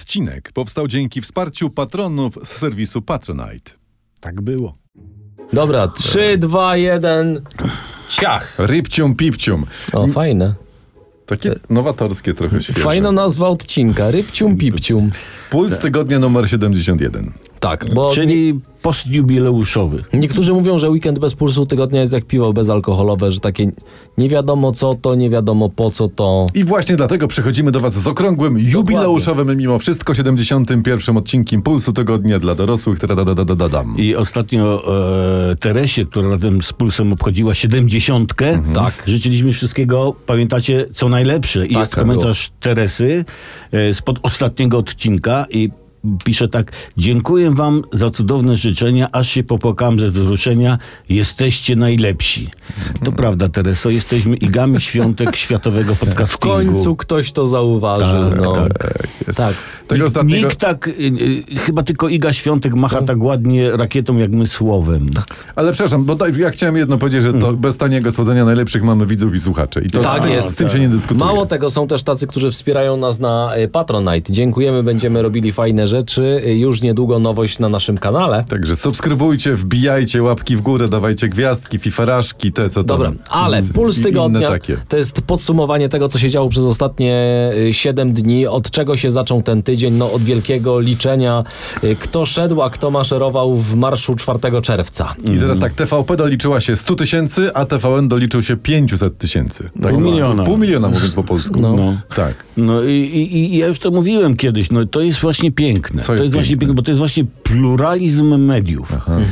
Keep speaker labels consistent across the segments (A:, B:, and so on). A: Odcinek powstał dzięki wsparciu patronów z serwisu Patronite.
B: Tak było.
C: Dobra, 3, 2, 1. Ciach!
A: Rybcium pipcium.
C: O, fajne.
A: Takie nowatorskie trochę świeże.
C: Fajna nazwa odcinka. Rybcium pipcium.
A: Puls tygodnia numer 71.
C: Tak, bo
B: Czyli postjubileuszowy.
C: niektórzy mówią, że weekend bez pulsu tygodnia jest jak piwo bezalkoholowe, że takie nie wiadomo co to, nie wiadomo po co to.
A: I właśnie dlatego przechodzimy do Was z okrągłym, jubileuszowym, mimo wszystko 71. odcinkiem Pulsu Tygodnia dla dorosłych. Tradadadadadam.
B: I ostatnio e, Teresie, która razem z Pulsem obchodziła siedemdziesiątkę,
C: Tak.
B: życzyliśmy wszystkiego, pamiętacie, co najlepsze. I
C: Tak
B: jest
C: było.
B: komentarz Teresy e, spod ostatniego odcinka i pisze tak. Dziękuję wam za cudowne życzenia, aż się popłakałem ze wzruszenia. Jesteście najlepsi. To prawda, Tereso, jesteśmy igami świątek światowego
C: Mhm. W
B: podcastingu.
C: końcu ktoś to zauważył.
B: Tak,
C: no.
A: Jest.
C: tak.
A: Tego ostatniego,
B: Nikt tak, y, y, chyba tylko Iga Świątek macha tak ładnie rakietą jak my słowem.
A: ale przepraszam, bo daj- ja chciałem jedno powiedzieć, że to bez taniego słodzenia najlepszych mamy widzów i słuchaczy. I to
C: Hmm. Tak
A: z tym,
C: jest.
A: Z tym się nie dyskutuje.
C: Mało tego, są też tacy, którzy wspierają nas na y, Patronite. Dziękujemy, będziemy robili fajne rzeczy. Y, Już niedługo nowość na naszym kanale.
A: Także subskrybujcie, wbijajcie łapki w górę, dawajcie gwiazdki, fifaraszki, te co tam.
C: Dobra, ale
A: I- Mhm.
C: puls
A: i Inne
C: tygodnia
A: takie.
C: to jest podsumowanie tego, co się działo przez ostatnie 7 dni, od czego się zaczął ten tydzień, no od wielkiego liczenia, y, kto szedł, a kto maszerował w marszu 4 czerwca.
A: I teraz tak, TVP doliczyła się 100 tysięcy, a TVN doliczył się 500 tysięcy. Tak,
B: Pół
A: no.
B: miliona.
A: Pół miliona mówiąc po polsku.
C: No.
B: No.
A: Tak.
B: No i, i, i ja już to mówiłem kiedyś, no to jest właśnie piękne.
A: Co
B: to
A: jest
B: jest właśnie
A: piękne? Mhm.
B: piękne, bo to jest właśnie pluralizm mediów. Mhm.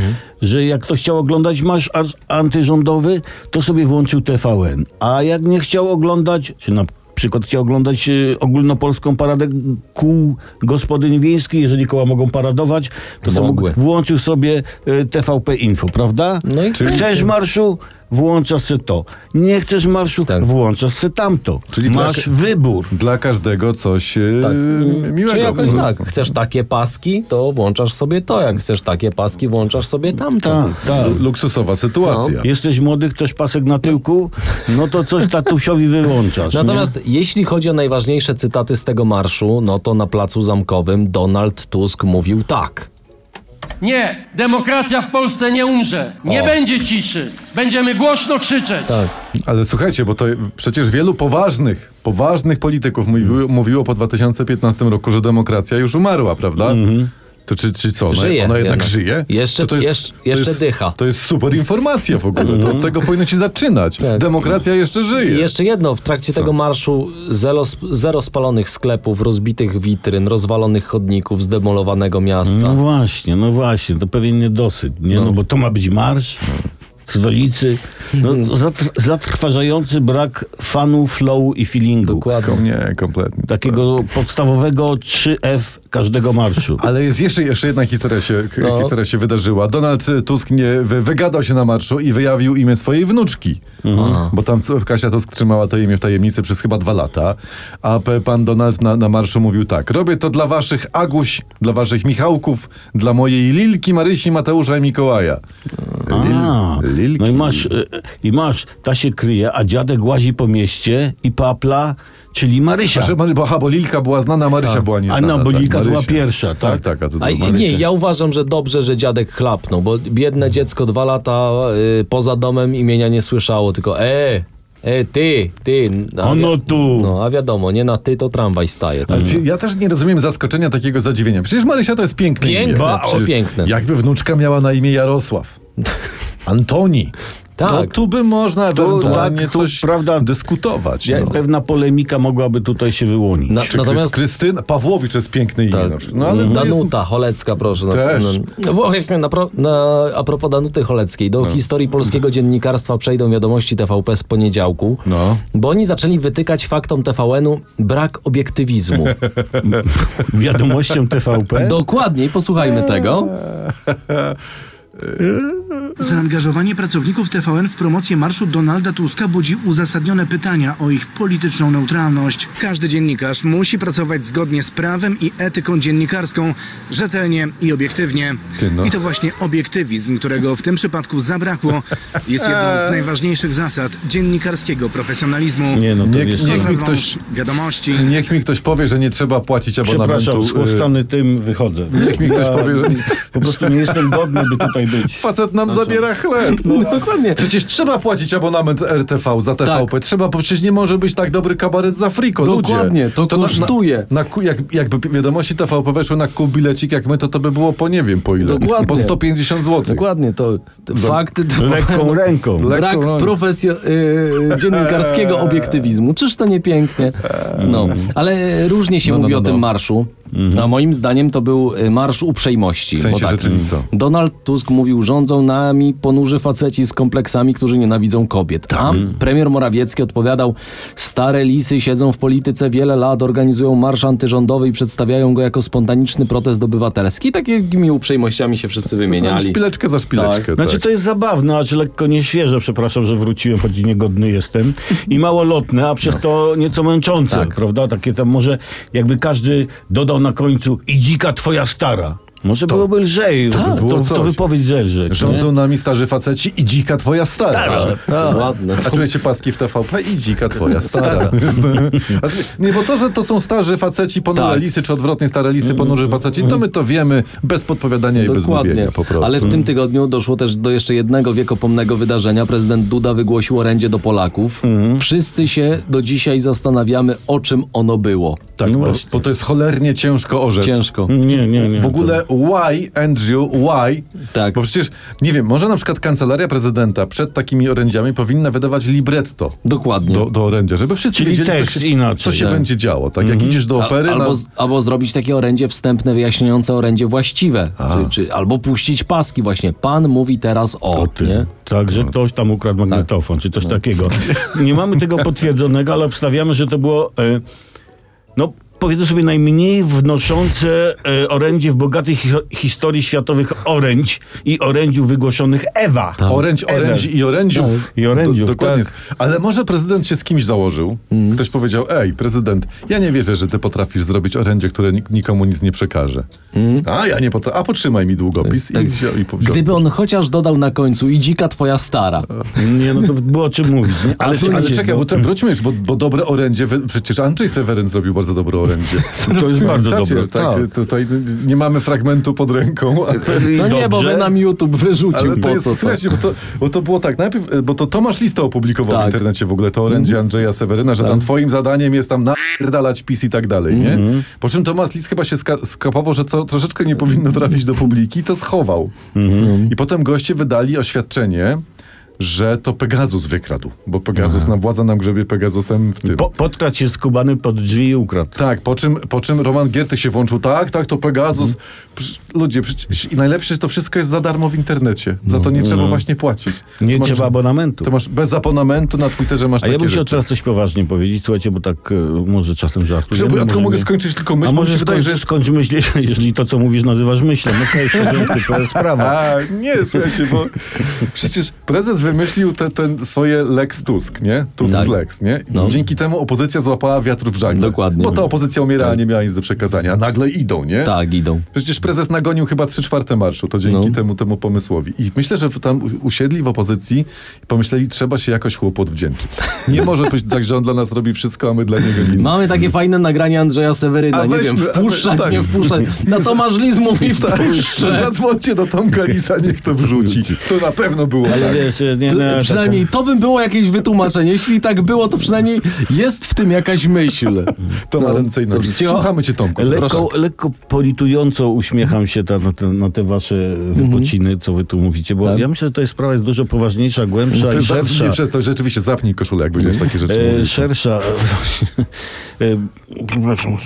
B: Że jak ktoś chciał oglądać marsz ar- antyrządowy, to sobie włączył TVN. A jak nie chciał oglądać, czy na przykład chciał oglądać y, ogólnopolską paradę kół gospodyń wiejskich, jeżeli koła mogą paradować, to sobie
C: Mogły.
B: mógł- włączył sobie y, TVP Info, prawda?
C: No i
B: Czy chcesz marszu? Włączasz se to. Nie chcesz marszu?
C: Tak.
B: Włączasz se tamto.
A: Czyli
B: Masz
A: tak-
B: wybór.
A: Dla każdego coś e,
C: Tak.
A: miłego. Mm. Mhm.
C: Czy jakoś tak, chcesz takie paski, to włączasz sobie to, jak chcesz takie paski, włączasz sobie tamto.
B: Tak, tak.
A: Lu- Luksusowa sytuacja.
C: No.
B: Jesteś młody, ktoś pasek na tyłku, no to coś tatusiowi wyłączasz.
C: Natomiast jeśli chodzi o najważniejsze cytaty z tego marszu, no to na placu zamkowym Donald Tusk mówił tak.
D: Nie, demokracja w Polsce nie umrze. Nie
C: O.
D: będzie ciszy. Będziemy głośno krzyczeć.
A: Ale słuchajcie, bo to przecież wielu poważnych, poważnych polityków
C: Mhm.
A: mówi, mówiło po 2015 roku, że demokracja już umarła, prawda? To czy, czy co? Ona,
C: Mhm. Żyje
A: ona jednak
C: jednak.
A: żyje?
C: Jeszcze-
A: to to
C: jeszcze- jeszcze
A: to jest,
C: dycha. Mhm.
A: To jest super informacja w ogóle. To od tego powinno się zaczynać.
C: Tak.
A: Demokracja jeszcze żyje.
C: I jeszcze jedno, w trakcie tego marszu zero, sp- zero spalonych sklepów, rozbitych witryn, rozwalonych chodników, zdemolowanego miasta.
B: No właśnie, no właśnie, to pewien niedosyt, nie? No, bo to ma być marsz w stolicy. No, zatr- zatrważający brak fanu, flowu i feelingu.
C: Dokładnie.
A: Kom- Nie, kompletnie.
B: Takiego podstawowego 3F każdego marszu.
A: Ale jest jeszcze, jeszcze jedna historia się, k-
C: No.
A: historia się wydarzyła. Donald Tusk nie wy, wygadał się na marszu i wyjawił imię swojej wnuczki.
B: Mhm.
A: Bo tam co- Kasia Tusk trzymała to imię w tajemnicy przez chyba dwa lata. A p- pan Donald na, na marszu mówił tak. Robię to dla waszych Aguś, dla waszych Michałków, dla mojej Lilki, Marysi, Mateusza i Mikołaja.
B: A,
A: Lil, Lilki.
B: no i masz, y, i masz, ta się kryje, a dziadek łazi po mieście i papla, czyli Marysia.
A: A, że, Mary- Znaczy, bo, aha, bo Lilka była znana, Marysia była
B: A
A: nieznana.
B: no, bo
A: tak,
B: Lilka była
A: Marysia.
B: pierwsza,
A: Tak,
B: tak?
A: tak. a to
C: A,
A: była
C: i-
A: Marysia.
C: nie, ja uważam, że dobrze, że dziadek chlapnął, bo biedne
B: Mm.
C: dziecko dwa lata y, poza domem imienia nie słyszało, tylko e, e, ty, ty. A
B: Ono
C: wi-
B: tu. Mm.
C: No, a wiadomo, nie na ty to tramwaj staje. Tak?
A: Ale ci- ja też nie rozumiem zaskoczenia takiego zadziwienia. Przecież Marysia to jest piękne
C: Piękne,
A: imię.
C: Ba- przepiękne.
A: Jakby wnuczka miała na imię Jarosław. Antoni. To
C: Tak.
A: tu by można ewentualnie
B: tak, tu,
A: coś
B: prawda,
A: dyskutować.
B: Ja,
A: no.
B: Pewna polemika mogłaby tutaj się wyłonić.
C: Na-
A: Czy Natomiast...
C: natomiast-
A: Krystyna Pawłowicz jest piękne imię.
C: Tak.
A: na przykład. No ale to jest...
C: Danuta Cholecka, proszę.
A: Też.
C: No, no, właśnie, na pro, na, a propos Danuty Choleckiej,
A: No.
C: do historii polskiego dziennikarstwa przejdą wiadomości TVP z poniedziałku,
A: No.
C: bo oni zaczęli wytykać faktom TVN-u brak obiektywizmu.
B: Wiadomością TVP?
C: Dokładnie, posłuchajmy tego.
E: Zaangażowanie pracowników TVN w promocję marszu Donalda Tuska budzi uzasadnione pytania o ich polityczną neutralność. Każdy dziennikarz musi pracować zgodnie z prawem i etyką dziennikarską, rzetelnie i obiektywnie.
A: Ty no.
E: I to właśnie obiektywizm, którego w tym przypadku zabrakło, jest jedną z najważniejszych zasad dziennikarskiego profesjonalizmu.
B: Nie no, to
A: Nie-
B: jest...
A: nie-
E: Konrad
A: mi ktoś-
E: Wąż, wiadomości.
A: Niech mi ktoś powie, że nie trzeba płacić
B: Przepraszam,
A: abonamentu. y,
B: schłostany tym wychodzę.
A: Niech mi ktoś
B: Ja
A: powie, że-
B: Po prostu nie jestem godny, by tutaj być.
A: Facet nam
B: Znaczy-
A: zabiera chleb. No. Dokładnie. Przecież trzeba płacić abonament RTV za TVP.
C: Tak.
A: Trzeba, bo przecież nie może być tak dobry kabaret za friko,
C: Dokładnie,
A: ludzie.
C: to
A: na-
C: kosztuje.
A: Na, na, ku- jak, jakby wiadomości TVP weszły na kup bilecik jak my, to to by było po nie wiem po ile.
C: Dokładnie.
A: Po 150 zł.
C: Dokładnie, to to fakty... To
B: Lekką ręką.
C: Brak
A: lekko, no.
C: profesjo- y, dziennikarskiego obiektywizmu. Czyż to nie pięknie? No, ale różnie się
A: Mm. No, no,
C: mówi
A: no,
C: o tym
A: no.
C: marszu. A moim zdaniem to był y, marsz uprzejmości.
A: W sensie
C: bo tak,
A: rzeczywico.
C: Donald Tusk mówił, rządzą nami ponurzy faceci z kompleksami, którzy nienawidzą kobiet.
A: Tak.
C: A
A: Mhm.
C: premier Morawiecki odpowiadał, stare lisy siedzą w polityce wiele lat, organizują marsz antyrządowy i przedstawiają go jako spontaniczny protest obywatelski. Takimi uprzejmościami się wszyscy wymieniali.
A: Szpileczkę za szpileczkę.
B: Znaczy
A: tak.
B: to jest zabawne, a czy lekko nieświeże, przepraszam, że wróciłem, choć niegodny jestem. I małolotne, a
A: No.
B: przez to nieco męczące,
A: Tak.
B: prawda? Takie tam może jakby każdy dodał na końcu i dzika twoja stara. Może byłoby lżej,
A: by było
B: to, to
A: Tak, coś.
B: wypowiedź zelżeć.
A: Rządzą nami starzy faceci i dzika twoja stara.
C: Tak.
A: Tak.
C: Ładne.
A: A czujecie paski w TVP i dzika twoja
C: Tak.
A: stara. Znaczy, nie, bo to, że to są starzy faceci ponure
C: Tak. Mm.
A: lisy, czy odwrotnie stare lisy ponurzy faceci, to my to wiemy bez podpowiadania i bez mówienia po prostu.
C: Ale w tym tygodniu doszło też do jeszcze jednego wiekopomnego wydarzenia. Prezydent Duda wygłosił orędzie do Polaków.
A: Mhm.
C: Wszyscy się do dzisiaj zastanawiamy, o czym ono było.
A: Tak, bo, bo to jest cholernie ciężko orzec.
C: No Ciężko.
B: Nie, nie, nie.
A: W ogóle why, Andrew, why?
C: Tak.
A: Bo przecież, nie wiem, może na przykład kancelaria prezydenta przed takimi orędziami powinna wydawać libretto
C: Dokładnie.
A: do, do orędzia, żeby wszyscy
B: Czyli
A: wiedzieli,
B: tekst
A: co się,
B: inaczej,
A: co się
C: tak.
A: będzie działo. Tak, jak idziesz do
C: A-
A: opery...
C: albo,
A: na...
C: z- albo zrobić takie orędzie wstępne, wyjaśniające orędzie właściwe. Czy, czy, albo puścić paski właśnie. Pan mówi teraz o.
B: O tym.
C: nie?
B: Tak, że ktoś tam ukradł magnetofon, czy coś takiego. Nie mamy tego potwierdzonego, ale obstawiamy, że to było, e, no powiedzmy sobie, najmniej wnoszące e, orędzie w bogatej hi historii światowych orędź i orędziów wygłoszonych Ewa.
A: Orędź, orędzi i
C: Tak.
A: orędziów.
B: I orędziów,
A: dokładnie. Ale może prezydent się z kimś założył.
C: Mhm.
A: Ktoś powiedział, ej, prezydent, ja nie wierzę, że ty potrafisz zrobić orędzie, które nik- nikomu nic nie przekaże. A ja nie potrafię. A potrzymaj mi długopis i, wziął, i powziął.
C: Mhm. Tak. Gdyby on chociaż dodał na końcu i dzika twoja stara.
B: Nie, no to było o czym mówić, nie?
A: Ale, ale,
B: słuchajcie,
A: czekaj, bo to, wróćmy już, bo, bo dobre orędzie, wy- przecież Andrzej Seweryn zrobił bardzo dobre orędzie.
B: to jest bardzo
A: Pamiętacie?
B: dobre.
A: Tak,
B: Tak.
A: tutaj nie mamy fragmentu pod ręką. ale-
C: No nie, bo by
B: Dobrze.
C: nam YouTube wyrzucił.
A: Ale
C: po
A: to jest,
C: co to?
A: słuchajcie, bo to, bo to było tak, najpierw, e, bo to Tomasz Lista opublikował w
C: Tak. Mhm.
A: internecie w ogóle to orędzie Andrzeja Seweryna, że tam twoim zadaniem jest tam napierdalać PiS i tak dalej, nie?
C: Mhm.
A: Po czym Tomasz List chyba się ska- skapował, że to troszeczkę nie powinno trafić do publiki i to schował.
C: Mhm.
A: I potem goście wydali oświadczenie, że to Pegazus wykradł, bo Pegazus, nam władza nam grzebie Pegasusem w tym.
B: Po, podkradł się skubany pod drzwi i ukradł.
A: Tak, po czym, po czym Roman Gierty się włączył. Tak, tak, to Pegasus. Prz- ludzie, przecież, i najlepsze, że to wszystko jest za darmo w internecie. Za to nie trzeba właśnie płacić.
B: Mm. Nie
A: To masz-
B: trzeba abonamentu.
A: To masz bez abonamentu na Twitterze masz
B: A ja
A: takie
B: bym chciał
A: rzeczy.
B: teraz coś poważnie powiedzieć, słuchajcie, bo tak e, może czasem żartujemy.
A: Żeby- ja tylko
B: może
A: mogę
B: nie.
A: skończyć tylko myśl, bo
B: A
A: mi
B: może
A: się wydaje, że
B: skończ,
A: jest...
B: skończ myśl, jeżeli to, co mówisz, nazywasz myślą. No to jest w porządku, to jest sprawa.
A: A, nie, słuchajcie, bo przecież prezes wymyślił te, ten swoje Lex Tusk, nie? Tusk
C: Tak.
A: Lex, nie? I
C: No.
A: Dzięki temu opozycja złapała wiatr w żagle.
C: Dokładnie.
A: Bo ta opozycja umierała,
B: Tak.
A: nie miała nic do przekazania. A nagle idą, nie?
C: Tak, idą.
A: Przecież prezes nagonił chyba trzy czwarte marszu, to dzięki
C: No.
A: temu, temu pomysłowi. I myślę, że tam u- usiedli w opozycji i pomyśleli, trzeba się jakoś chłopu odwdzięczyć. Nie może być tak, że on dla nas robi wszystko, a my dla niego nic.
C: Mamy takie fajne nagranie Andrzeja Seweryna.
A: Mhm. A
C: nie
A: weźmy,
C: wiem,
A: a we-
C: wpuszczać,
A: tak.
C: nie wpuszczać. Na Tomasz Lis mówi wpuszczę.
A: Zadzwońcie do Tomka Lisa, niech to wrzuci. To na pewno było
B: Ale
A: tak.
B: wiesz, nie, nie,
C: To,
B: taką-
C: przynajmniej to bym było jakieś wytłumaczenie. Jeśli tak było, to przynajmniej jest w tym jakaś myśl.
A: To na ręce i nogi.
C: dobrze. Cicho.
A: Słuchamy cię, Tomku.
B: no, Lekko, lekko politująco uśmiecham się ta, na, te, na te wasze wypociny, co wy tu mówicie, bo
C: Tak.
B: ja myślę, że to jest sprawa jest dużo poważniejsza, głębsza
A: Ty
B: i
A: zapnij
B: szersza.
A: przez to, rzeczywiście zapnij koszulę, jak będziesz takie rzeczy
B: E,
A: mówił.
B: szersza. E, przepraszam.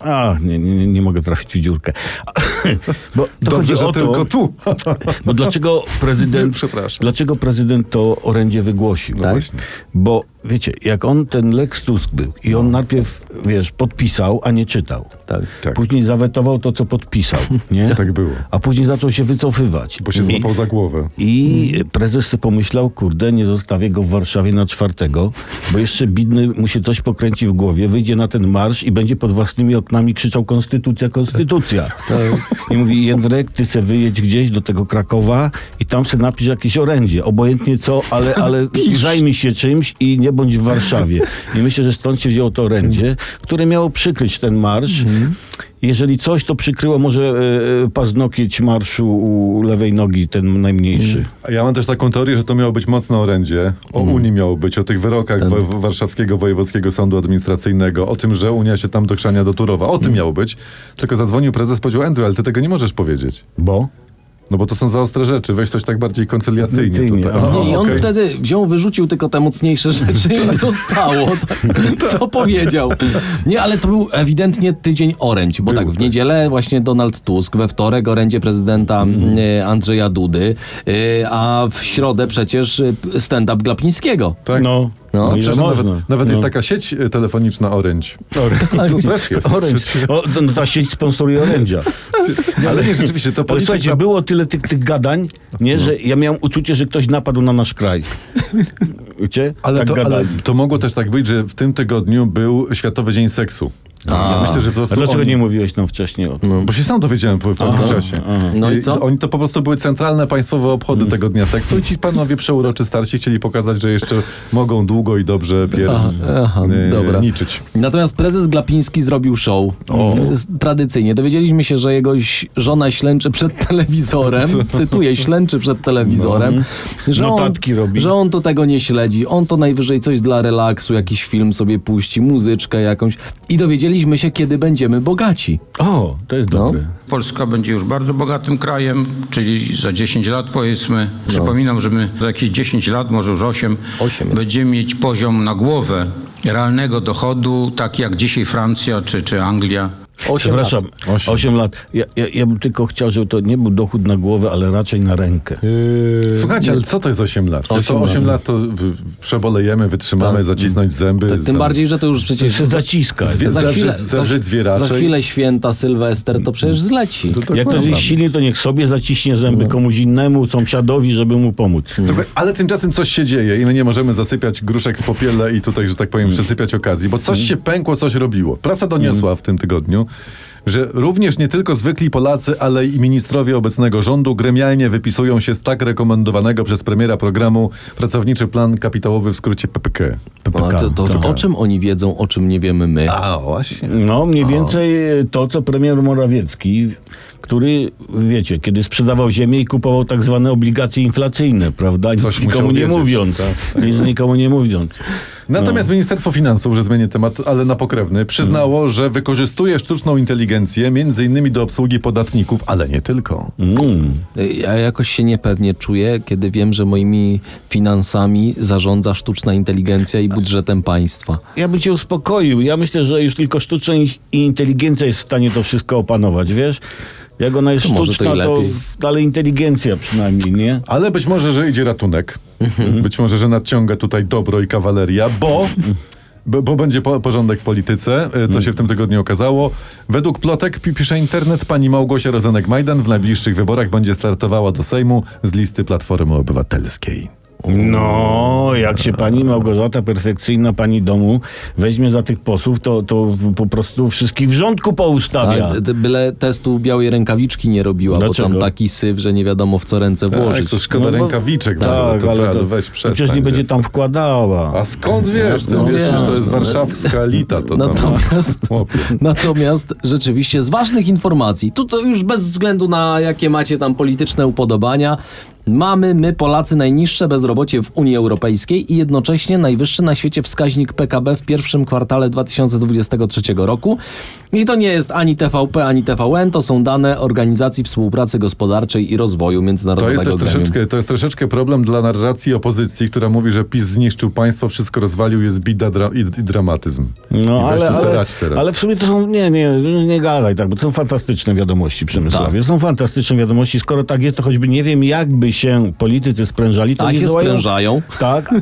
B: A, nie, nie, nie- nie mogę trafić w dziurkę. Bo to
A: Dobrze,
B: chodzi
A: że
B: o to,
A: tylko tu.
B: Bo No dlaczego prezydent,
A: Przepraszam. No
B: dlaczego prezydent to orędzie wygłosił?
C: Tak.
A: właśnie.
B: Bo wiecie, jak on, ten Lex Tusk był i
A: No.
B: on najpierw, wiesz, podpisał, a nie czytał.
C: Tak.
A: Tak.
B: Później zawetował to, co podpisał, nie?
A: Tak było.
B: A później zaczął się wycofywać.
A: Bo się
B: I-
A: złapał za głowę.
B: I prezes sobie pomyślał, kurde, nie zostawię go w Warszawie na czwartego, bo jeszcze bidny mu się coś pokręci w głowie, wyjdzie na ten marsz i będzie pod własnymi oknami krzyczał konstytucja, konstytucja. I mówi, Jędrek, ty se wyjedź gdzieś do tego Krakowa i tam se napisz jakieś orędzie, obojętnie co, ale, ale zajmij się czymś i nie bądź w Warszawie. I myślę, że stąd się wzięło to orędzie, które miało przykryć ten marsz. Jeżeli coś, to przykryło może e, e, paznokieć marszu u lewej nogi, ten najmniejszy.
A: A Ja mam też taką teorię, że to miało być mocne orędzie. O
B: Mhm.
A: Unii miało być, o tych wyrokach wo- Warszawskiego Wojewódzkiego Sądu Administracyjnego, o tym, że Unia się tam dochrzania do Turowa. O tym
B: Mhm.
A: miało być. Tylko zadzwonił prezes, powiedział, Andrew, ale ty tego nie możesz powiedzieć.
B: Bo?
A: No bo to są za ostre rzeczy, weź coś tak bardziej koncyliacyjnie
B: Koncyliacyjnie,
A: tutaj.
B: a
A: O,
C: Nie, No I on
A: No, okej.
C: wtedy wziął, wyrzucił tylko te mocniejsze rzeczy i zostało. Tak. To, to powiedział. Nie, ale to był ewidentnie tydzień orędź, bo tak, w niedzielę właśnie Donald Tusk, we wtorek orędzie prezydenta y, Andrzeja Dudy, y, a w środę przecież y, stand-up Glapińskiego.
A: Tak.
B: No.
C: No,
B: ile
A: Przecież nawet
B: można.
A: nawet jest
B: No.
A: taka sieć y, telefoniczna Orange. To też jest.
B: Orange. O, no, no, ta sieć sponsoruje orędzia.
A: Ale nie, rzeczywiście, to
B: Ale
A: polityka... No.
B: słuchajcie, było tyle tych, tych gadań, nie, że ja miałem uczucie, że ktoś napadł na nasz kraj. Wiecie?
A: Ale,
B: tak
A: to, ale
B: gadali.
A: to mogło też tak być, że w tym tygodniu był Światowy Dzień Seksu. Ja myślę, że po
B: A
A: prostu
B: dlaczego
A: oni-
B: nie mówiłeś nam wcześniej o tym?
A: No Bo się sam dowiedziałem po pewnym czasie.
C: No i co? Mm.
A: Oni to po prostu były centralne państwowe obchody tego dnia seksu i ci panowie przeuroczy starsi chcieli pokazać, że jeszcze mogą długo i dobrze pier...
C: aha,
A: y,
C: dobra.
A: niczyć.
C: Natomiast prezes Glapiński zrobił show. Z- Tradycyjnie. Dowiedzieliśmy się, że jego ś- żona ślęczy przed telewizorem. Cytuję, ślęczy przed telewizorem. Że,
B: Notatki
C: on,
B: robi.
C: że on to tego nie śledzi. On to najwyżej coś dla relaksu, jakiś film sobie puści, muzyczkę jakąś. I dowiedzieliśmy się, kiedy będziemy bogaci.
B: O, to
C: No.
B: jest dobre.
F: Polska będzie już bardzo bogatym krajem, czyli za 10 lat powiedzmy. Przypominam, że my za jakieś 10 lat, może już 8, będziemy mieć poziom na głowę realnego dochodu, tak jak dzisiaj Francja czy, czy Anglia.
C: Osiem lat.
B: Przepraszam, 8, lat. Ja, ja, ja bym tylko chciał, żeby to nie był dochód na głowę, ale raczej na rękę.
C: Y,
A: Słuchajcie, ale co to jest 8 lat? Czy to 8 lat to w- w- przebolejemy, wytrzymamy,
C: Tak.
A: zacisnąć zęby.
C: Tak, tym
A: tam
C: bardziej, że to już przecież...
B: Się zaciska.
A: Zwie-
C: Za
A: Zewrzeć-
C: chwilę,
A: zewrzeć
C: za,
A: zwieraczy.
C: za chwilę święta, Sylwester, to tak przecież zleci.
B: Jak ktoś jest silny, to niech sobie zaciśnie
C: No.
B: zęby komuś innemu, sąsiadowi, żeby mu pomóc.
A: Tylko- Ale tymczasem coś się dzieje i my nie możemy zasypiać gruszek w popiele i tutaj, że tak powiem, przysypiać okazji, bo coś się pękło, coś robiło. Prasa doniosła w tym tygodniu, że również nie tylko zwykli Polacy, ale i ministrowie obecnego rządu gremialnie wypisują się z tak rekomendowanego przez premiera programu Pracowniczy Plan Kapitałowy, w skrócie PPK.
C: A to, to, to o czym oni wiedzą, o czym nie wiemy my?
A: A, właśnie.
B: No, mniej więcej to, co premier Morawiecki, który, wiecie, kiedy sprzedawał ziemię i kupował tak zwane obligacje inflacyjne, prawda? Nic
A: Coś
B: nikomu
A: musiał
B: nie
A: wiedzieć.
B: mówiąc.
C: Tak.
B: Nic nikomu nie mówiąc.
A: Natomiast Ministerstwo Finansów, że zmienię temat, ale na pokrewny, przyznało, że wykorzystuje sztuczną inteligencję między innymi do obsługi podatników, ale nie tylko.
B: Mm.
C: Ja jakoś się niepewnie czuję, kiedy wiem, że moimi finansami zarządza sztuczna inteligencja i budżetem państwa.
B: Ja bym cię uspokoił. Ja myślę, że już tylko sztuczna in- inteligencja jest w stanie to wszystko opanować, wiesz? Jak ona jest
C: To może to i
B: sztuczna, to,
C: lepiej.
B: ale inteligencja przynajmniej, nie?
A: Ale być może, że idzie ratunek.
C: Mhm.
A: Być może, że nadciąga tutaj dobro i kawaleria, bo. Bo, bo będzie po, porządek w polityce, e,
C: Mhm.
A: to się w tym tygodniu okazało. Według plotek, pi, pisze internet, pani Małgosia Rozenek-Majdan w najbliższych wyborach będzie startowała do Sejmu z listy Platformy Obywatelskiej.
B: No, jak się pani Małgorzata, perfekcyjna pani domu, weźmie za tych posłów, to, to po prostu wszystkich w rządku
C: A,
A: Tak,
B: poustawia.
C: d- byle testu białej rękawiczki nie robiła,
B: Dlaczego?
C: bo tam taki syf, że nie wiadomo w co ręce
A: Tak,
C: włożyć.
A: to szkoda
B: No bo-
A: rękawiczek, no,
B: Tak,
A: to,
B: ale to,
A: weź przestań.
B: przecież nie będzie
A: wiesz.
B: tam wkładała.
A: A skąd wiesz? Ty
C: No
A: wiesz,
C: wiem,
A: że to jest
C: no.
A: warszawska elita. To tam,
C: Natomiast,
A: no Chłopie.
C: natomiast rzeczywiście z ważnych informacji, tu to już bez względu na jakie macie tam polityczne upodobania, mamy my Polacy najniższe bezrobocie w Unii Europejskiej i jednocześnie najwyższy na świecie wskaźnik PKB w pierwszym kwartale 2023 roku. I to nie jest ani TVP, ani TVN, to są dane Organizacji Współpracy Gospodarczej i Rozwoju
A: To
C: Międzynarodowego
A: jest, też
C: Gremium.
A: troszeczkę, to jest troszeczkę problem dla narracji opozycji, która mówi, że PiS zniszczył państwo, wszystko rozwalił, jest bida dra i, i dramatyzm.
C: Mm.
B: No,
A: I weź
B: ale,
A: tu
B: ale,
A: zadać teraz.
B: ale w sumie to są, nie, nie, nie gadaj tak, bo to są fantastyczne wiadomości, Przemysławie.
A: Tak.
B: Są fantastyczne wiadomości. Skoro tak jest, to choćby nie wiem, jakby się politycy sprężali, to
C: A
B: nie
C: się
B: zdołają-
C: sprężają.
B: Tak,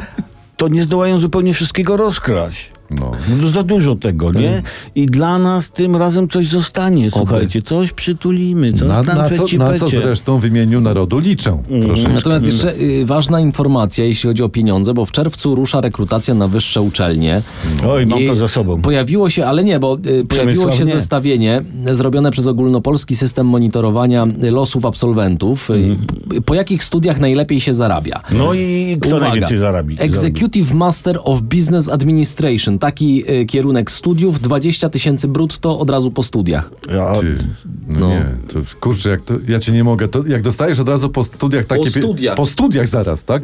B: to nie zdołają zupełnie wszystkiego rozkraść.
A: No.
B: No, za dużo tego,
A: Tak.
B: nie? I dla nas tym razem coś zostanie, słuchajcie, coś przytulimy, coś
A: Na,
B: No, tam
A: na, co,
B: peci,
A: na co
B: pecie.
A: zresztą w imieniu narodu liczę. Proszę.
C: Natomiast jeszcze y, ważna informacja, jeśli chodzi o pieniądze, bo w czerwcu rusza rekrutacja na wyższe uczelnie.
B: Oj, mam
C: I
B: to za sobą.
C: Pojawiło się, ale nie, bo y, pojawiło
B: Przemysław,
C: się
B: nie.
C: zestawienie y, zrobione przez ogólnopolski system monitorowania y, losów absolwentów. Y, p- Po jakich studiach najlepiej się zarabia?
B: No i Mhm. kto
C: Uwaga.
B: najwięcej zarabi? zarobi?
C: Executive Master of Business Administration. Taki y, kierunek studiów, 20 tysięcy brutto od razu po studiach.
B: Ja,
A: Ty, no, nie, to kurczę, jak to, ja cię nie mogę. To, jak dostajesz od razu po studiach takie pie-
C: studiach.
A: po studiach zaraz, tak?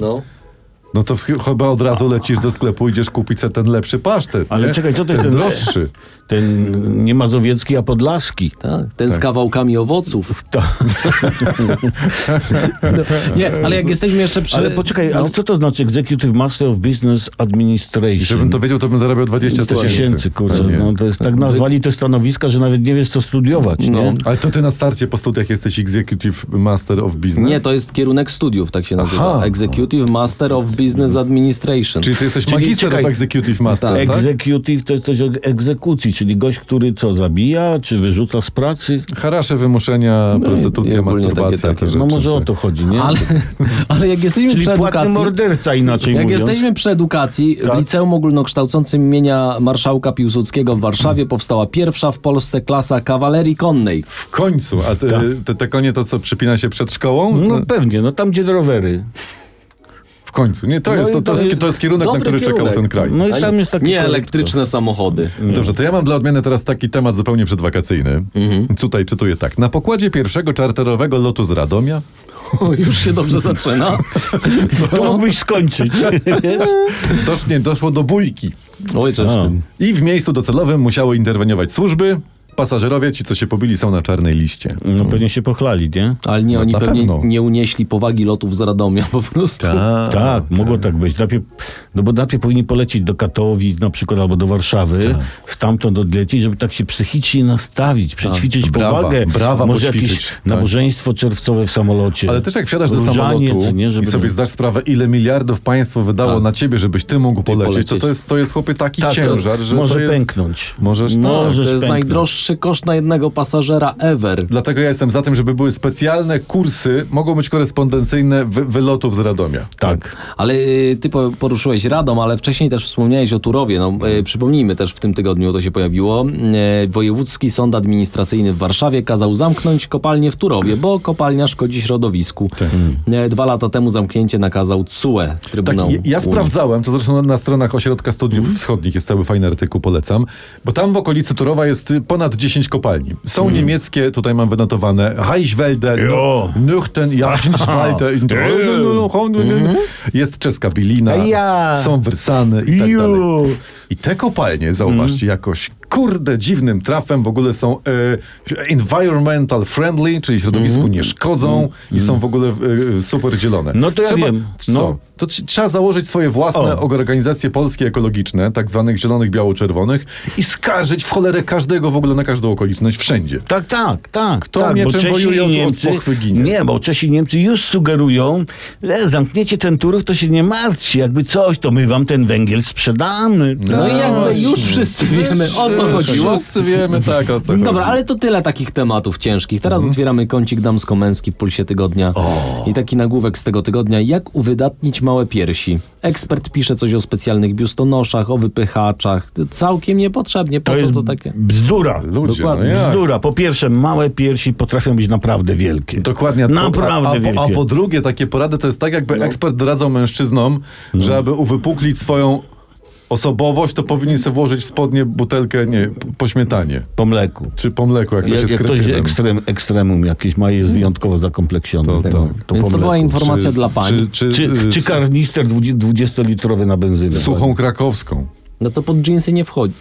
A: No, to ch- chyba od razu lecisz do sklepu, idziesz kupić sobie ten lepszy pasztet.
B: Ale
A: nie?
B: czekaj, co to
A: ten,
B: jest ten-
A: droższy.
B: ten nie mazowiecki, a podlaski.
C: Tak, ten z kawałkami owoców. no, nie, ale jak jesteśmy jeszcze przy... no.
B: Ale poczekaj,
A: no.
B: ale co to znaczy Executive Master of Business Administration?
A: Żebym to wiedział, to bym zarabiał 20 tysięcy.
B: tysięcy, kurczę.
A: Pewnie. No.
B: No, to jest, tak nazwali te stanowiska, że nawet nie wiesz, co studiować, nie?
A: Ale to ty na starcie po studiach jesteś Executive Master of Business?
C: Nie, to jest kierunek studiów, tak się nazywa.
A: Aha.
C: Executive Master of Business Administration.
A: Czyli ty jesteś
B: Czyli
A: magister
B: czekaj.
A: of Executive Master, tak?
B: Executive to jest coś o egzekucji, czyli gość, który co, zabija, czy wyrzuca z pracy?
A: Harasze, wymuszenia,
C: i
A: prostytucja,
C: ogólnie takie,
A: masturbacja,
C: takie.
A: te rzeczy.
B: No może o
A: tak.
B: to chodzi, nie?
C: Ale, ale jak jesteśmy
B: Czyli
C: przy
B: płatny
C: edukacji...
B: morderca inaczej
C: Jak
B: mówiąc.
C: jesteśmy przy edukacji,
B: Tak.
C: w Liceum Ogólnokształcącym imienia Marszałka Piłsudskiego w Warszawie powstała pierwsza w Polsce klasa kawalerii konnej.
A: W końcu. A te, te, te konie to, co przypina się przed szkołą?
B: No pewnie, no tam gdzie rowery.
A: W końcu. Nie, to,
B: No
A: jest,
B: i
A: to, to,
B: to
A: jest,
B: jest
A: to jest kierunek, na
C: dobry
A: który czekał
C: kierunek.
A: ten kraj.
B: No i tam jest taki
C: Nie
B: korektor.
C: elektryczne samochody.
A: Dobrze, to ja mam dla odmiany teraz taki temat zupełnie przedwakacyjny. Tutaj czytuję tak. Na pokładzie pierwszego czarterowego lotu z Radomia
C: O, już się dobrze zaczyna.
B: To mógłbyś skończyć.
A: dosz, nie, doszło do bójki.
C: Oj, coś w tym.
A: I w miejscu docelowym musiały interweniować służby. Pasażerowie, ci co się pobili, są na czarnej liście.
B: No pewnie się pochlali, nie?
C: Ale nie,
A: No,
C: oni
A: na
C: pewnie
A: pewno.
C: nie unieśli powagi lotów z Radomia po prostu.
A: A,
B: Tak, mogło tak być. Najpierw, no bo najpierw powinni polecieć do Katowic na przykład albo do Warszawy,
A: Tak.
B: stamtąd odlecieć, żeby tak się psychicznie nastawić, przećwiczyć
A: brawa,
B: powagę.
A: brawa
B: Może
A: poćwiczyć,
B: jakieś
A: tak.
B: nabożeństwo czerwcowe w samolocie.
A: Ale też jak wsiadasz do
B: Różaniec,
A: samolotu
B: nie, żeby tak.
A: i sobie zdasz sprawę, ile miliardów państwo wydało na ciebie, żebyś ty mógł polecieć, To,
C: polecieć.
A: to jest, to jest chłopie taki
B: Tak, to
A: ciężar, że
B: może
A: to jest...
B: pęknąć.
A: Możesz tak.
B: Możesz
C: To jest
B: pęknąć.
C: najdroższy koszt na jednego pasażera ever.
A: Dlatego ja jestem za tym, żeby były specjalne kursy, mogą być korespondencyjne wy wylotów z Radomia.
B: Tak.
C: Ale y, ty po- poruszyłeś Radom, ale wcześniej też wspomniałeś o Turowie. No, y, przypomnijmy też, w tym tygodniu to się pojawiło. Y, Wojewódzki Sąd Administracyjny w Warszawie kazał zamknąć kopalnię w Turowie, bo kopalnia szkodzi środowisku. Y, dwa lata temu zamknięcie nakazał CUE
A: Tak,
C: Trybunał
A: ja, ja
C: Unii.
A: sprawdzałem, to zresztą na, na stronach Ośrodka Studiów
B: Mhm.
A: Wschodnich jest cały fajny artykuł, polecam, bo tam w okolicy Turowa jest y, ponad 10 kopalni. Są niemieckie, tutaj mam wynotowane, Heichwelde,
B: Mhm. Jo.
A: Nüchten, Jachtenschweite, no, jest czeska Bilina,
B: Mhm. Ja.
A: są Wersany i tak
B: Ju.
A: dalej. I te kopalnie,
B: Mhm.
A: zauważcie, jakoś kurde dziwnym trafem w ogóle są e, environmental friendly, czyli środowisku
B: Mhm.
A: nie szkodzą i są w ogóle e, super zielone.
B: No to ja
A: Trzeba-
B: wiem.
A: Co?
B: No.
A: To tr- trzeba założyć swoje własne
B: O.
A: organizacje polskie ekologiczne, tak zwanych zielonych, biało-czerwonych i skarżyć w cholerę każdego w ogóle na każdą okoliczność, wszędzie.
B: Tak, tak, tak.
A: Kto
B: tak,
A: mieczem
B: bo Czesi
A: wojuje,
B: i
A: od- od
B: Niemcy,
A: pochwy ginie.
B: Nie, bo Czesi i Niemcy już sugerują, że zamkniecie ten Turów, to się nie martwcie. Jakby coś, to my wam ten węgiel sprzedamy.
C: No i jakby już
A: Właśnie. No,
C: wszyscy wiemy, o co chodziło.
A: Wszyscy wiemy tak, o co chodzi.
C: Dobra, ale to tyle takich tematów ciężkich. Teraz
B: Mhm.
C: otwieramy kącik damsko-męski w Pulsie Tygodnia. I taki nagłówek z tego tygodnia. Jak uwydatnić małe piersi? Ekspert pisze coś o specjalnych biustonoszach, o wypychaczach. To Całkiem niepotrzebnie. Po
B: To
C: co
B: jest
C: to takie?
B: bzdura.
A: Ludzie, no
C: Dokładnie.
A: jak?
B: Bzdura. Po pierwsze, małe piersi potrafią być naprawdę wielkie.
A: Dokładnie. a po-
B: Naprawdę
A: a, a,
B: wielkie. No.
A: po, a po drugie, takie porady to jest tak, jakby ekspert doradzał mężczyznom, że aby uwypuklić swoją osobowość, to powinien sobie włożyć w spodnie butelkę, nie, po śmietanie.
B: po mleku.
A: Czy po mleku, jak to się
B: Jak, jak ktoś
A: skrytynem.
B: ekstrem, ekstremum jakieś ma, jest wyjątkowo zakompleksiony.
A: To- to-
C: No. Więc to
B: po
C: była
B: mleku.
C: informacja dla pani.
A: Czy, czy,
B: Czy,
A: y,
B: czy
A: s-
B: karnister 20-litrowy na benzynę.
A: suchą krakowską.
C: No to pod dżinsy nie wchodzi.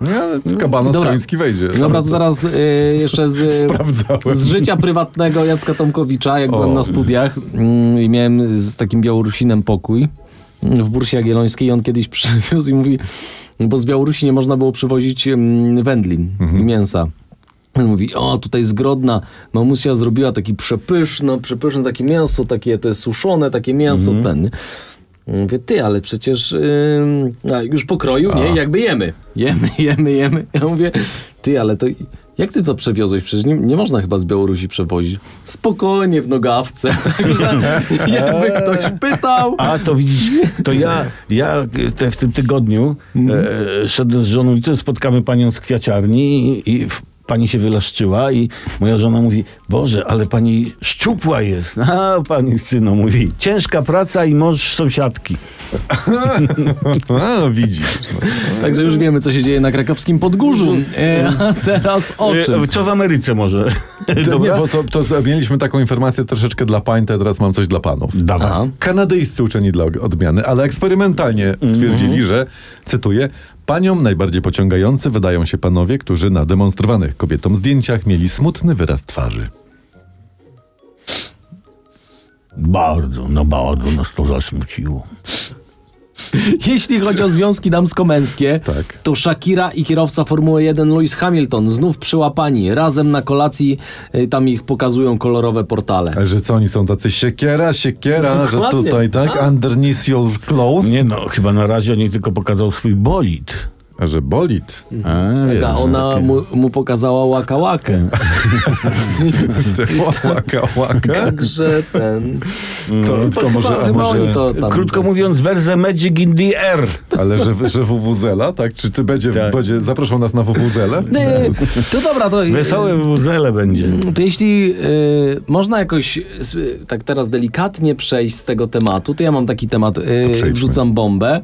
A: Nie, ale kabanos
C: No, Dobra.
A: koński wejdzie.
C: Dobra, to teraz y, jeszcze z,
A: Sprawdzałem.
C: z życia prywatnego Jacka Tomkowicza, jak byłem na studiach mm, i miałem z takim Białorusinem pokój mm, w Bursie Jagiellońskiej i on kiedyś przywiózł i mówi, bo z Białorusi nie można było przywozić mm, wędlin
A: Mhm.
C: i mięsa. On mówi, o tutaj zgrodna mamusia zrobiła taki przepyszno, przepyszne takie mięso, takie to jest suszone, takie mięso, ten. nie? Mówię, ty, ale przecież ym, a już pokroju, nie? Jakby jemy. Jemy, jemy, jemy. Ja mówię, ty, ale to jak ty to przewiozłeś? Przecież nie, nie można chyba z Białorusi przewozić. Spokojnie w nogawce. Także jakby ktoś pytał.
B: A to widzisz, to ja, ja te, w tym tygodniu e, szedłem z żoną i to spotkamy panią z kwiaciarni i, i w, pani się wylaszczyła i moja żona mówi, Boże, ale pani szczupła jest. A pani syno mówi, ciężka praca i mąż sąsiadki.
A: A, no widzisz.
C: Także już wiemy, co się dzieje na krakowskim podgórzu. E, a teraz o czym?
B: E, Co w Ameryce może?
A: Nie,
B: Dobra?
A: bo to, to z- mieliśmy taką informację troszeczkę dla pań, to ja teraz mam coś dla panów.
B: Dawaj.
C: Aha.
A: Kanadyjscy uczeni dla odmiany, ale eksperymentalnie
C: Mhm.
A: stwierdzili, że, cytuję, paniom najbardziej pociągający wydają się panowie, którzy na demonstrowanych kobietom zdjęciach mieli smutny wyraz twarzy.
B: Bardzo, no bardzo nas to zasmuciło.
C: Jeśli chodzi o związki damsko-męskie,
A: Tak.
C: to Shakira i kierowca Formuły 1 Lewis Hamilton znów przyłapani. Razem na kolacji y, tam ich pokazują kolorowe portale.
A: Ale że co, oni są tacy siekiera, siekiera, że
C: Dokładnie.
A: tutaj, tak, underneath your clothes,
B: Nie no, chyba na razie oni tylko pokazał swój bolid.
A: A że bolid.
C: Mhm.
B: A, wiesz,
C: A ona
B: takie-
C: mu, mu pokazała łaka łakę.
A: Tak. Te łaka, łaka.
C: Także ten...
A: To, to może,
C: chyba
A: a
C: oni
A: może,
C: to tam...
B: Krótko mówiąc, werze Magic in the air.
A: ale że, że WWZela, tak? Czy ty będzie,
B: Tak.
A: będzie zaproszą nas na WWZelę?
C: Nie, To dobra, to...
B: Wesołe wuzele będzie.
C: No To jeśli y, można jakoś y, tak teraz delikatnie przejść z tego tematu, to ja mam taki temat, y,
A: przejdźmy.
C: wrzucam bombę.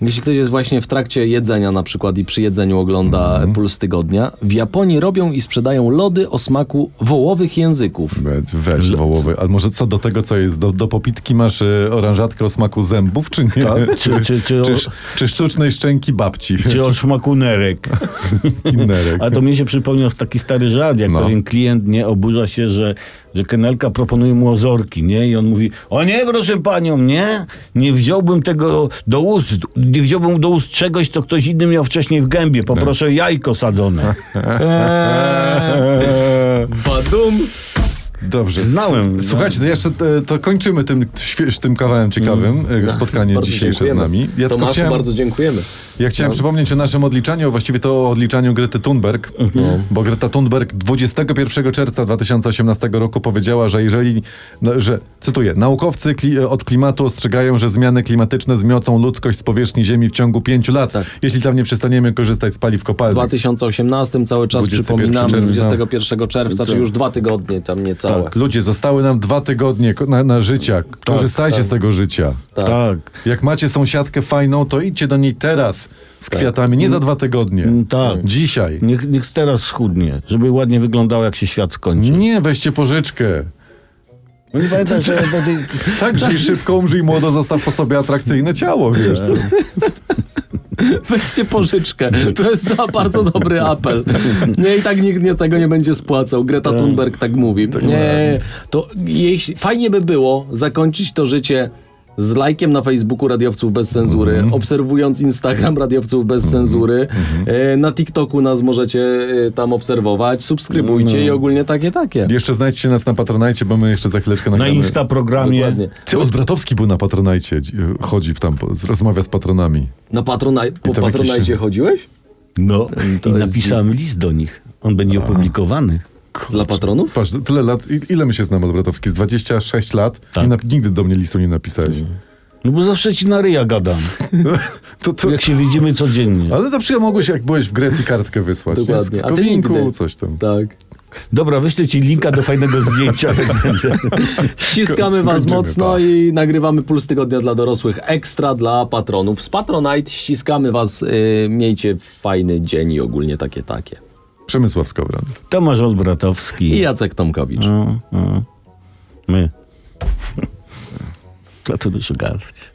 C: Jeśli ktoś jest właśnie w trakcie jedzenia na przykład i przy jedzeniu ogląda
A: Mhm.
C: Puls Tygodnia, w Japonii robią i sprzedają lody o smaku wołowych języków.
A: We- Weź wołowy. A może co do tego, co jest? Do, do popitki masz y, oranżatkę o smaku zębów, czy nie?
B: Tak,
A: Czy,
B: czy-
A: czy,
B: czy-
A: sz- czy sztucznej szczęki babci?
B: Czy o szmakunerek.
A: Kinderek.
B: A to mnie się przypomniał taki stary żart, jak
A: No.
B: pewien klient nie oburza się, że, że kenelka proponuje mu ozorki, nie? I on mówi, o nie, proszę panią, nie? Nie wziąłbym tego do ust, nie wziąłbym do ust czegoś, co ktoś inny miał wcześniej w gębie. Poproszę jajko sadzone.
C: Badum!
A: Dobrze.
B: Znałem.
A: S- Słuchajcie, to jeszcze e, to kończymy tym, świe- tym kawałem ciekawym e, spotkanie
C: Bardzo
A: dzisiejsze
C: dziękujemy.
A: z nami. Ja tylko
C: Tomaszu,
A: chciałem, Tak.
C: bardzo dziękujemy.
A: ja chciałem przypomnieć o naszym odliczaniu, właściwie to o odliczaniu Grety Thunberg, bo Greta Thunberg 21 czerwca 2018 roku powiedziała, że jeżeli, no, że cytuję, naukowcy kli, od klimatu ostrzegają, że zmiany klimatyczne zmiocą ludzkość z powierzchni Ziemi w ciągu pięciu lat,
C: Tak.
A: jeśli tam nie przestaniemy korzystać z paliw
C: W
A: kopalnych.
C: 2018 cały czas
A: 21
C: przypominamy,
A: czerwca.
C: 21 czerwca, czyli już dwa tygodnie tam niecałe.
A: Tak, ludzie, zostały nam dwa tygodnie ko- na, na życia. Korzystajcie z tego życia.
C: Tak.
B: Tak.
A: Jak macie sąsiadkę fajną, to idźcie do niej teraz z kwiatami, nie za dwa tygodnie.
B: Mm, tak.
A: Dzisiaj.
B: Niech, niech teraz schudnie, żeby ładnie wyglądało, jak się świat skończy.
A: Nie, weźcie pożyczkę.
B: No nie pamiętam, że wtedy...
A: Tak, żyj szybko, umrzyj młodo, zostaw po sobie atrakcyjne ciało, wiesz. To.
C: Weźcie pożyczkę. To jest na bardzo dobry apel. Nie, i tak nikt nie, tego nie będzie spłacał. Greta Thunberg tak mówi. Nie, to jeśli, fajnie by było zakończyć to życie z lajkiem na Facebooku Radiowców Bez Cenzury,
A: Mhm.
C: obserwując Instagram Radiowców Bez Cenzury. E, Na TikToku nas możecie e, tam obserwować, subskrybujcie
A: No.
C: i ogólnie takie, takie.
A: Jeszcze znajdźcie nas na Patronajcie, bo my jeszcze za chwileczkę
B: Na
A: nagramy.
B: Insta programie.
C: Dokładnie.
A: Ty, Odbratowski był na Patronajcie, dzi- chodzi tam, po- rozmawia z patronami.
C: Na patrona, po
A: tam jakiś-
C: patronajcie chodziłeś?
B: No, i
C: jest-
B: napisałem list do nich. On będzie opublikowany.
C: Dla patronów?
A: Patrz, tyle lat, i- ile my się znamy, Odbratowski? Z 26 lat
B: Tak.
A: i na, nigdy do mnie listu nie napisałeś.
B: No bo zawsze ci na ryja gadam.
A: To, to,
B: Jak się widzimy codziennie.
A: ale na przykład mogłeś, jak byłeś w Grecji, kartkę wysłać. nie? Z
C: Dokładnie. A ty
A: kominku,
C: nigdy.
A: coś tam.
C: Tak.
B: Dobra, wyślę ci linka do fajnego zdjęcia.
C: Ściskamy was
A: Kończymy,
C: mocno
A: pa.
C: i nagrywamy Puls Tygodnia dla dorosłych ekstra dla patronów. Z Patronite ściskamy was. y, miejcie fajny dzień i ogólnie takie takie.
A: Przemysław Skowron.
B: Tomasz Olbratowski.
C: I Jacek Tomkowicz.
B: No, no. My. Dlaczego szukać?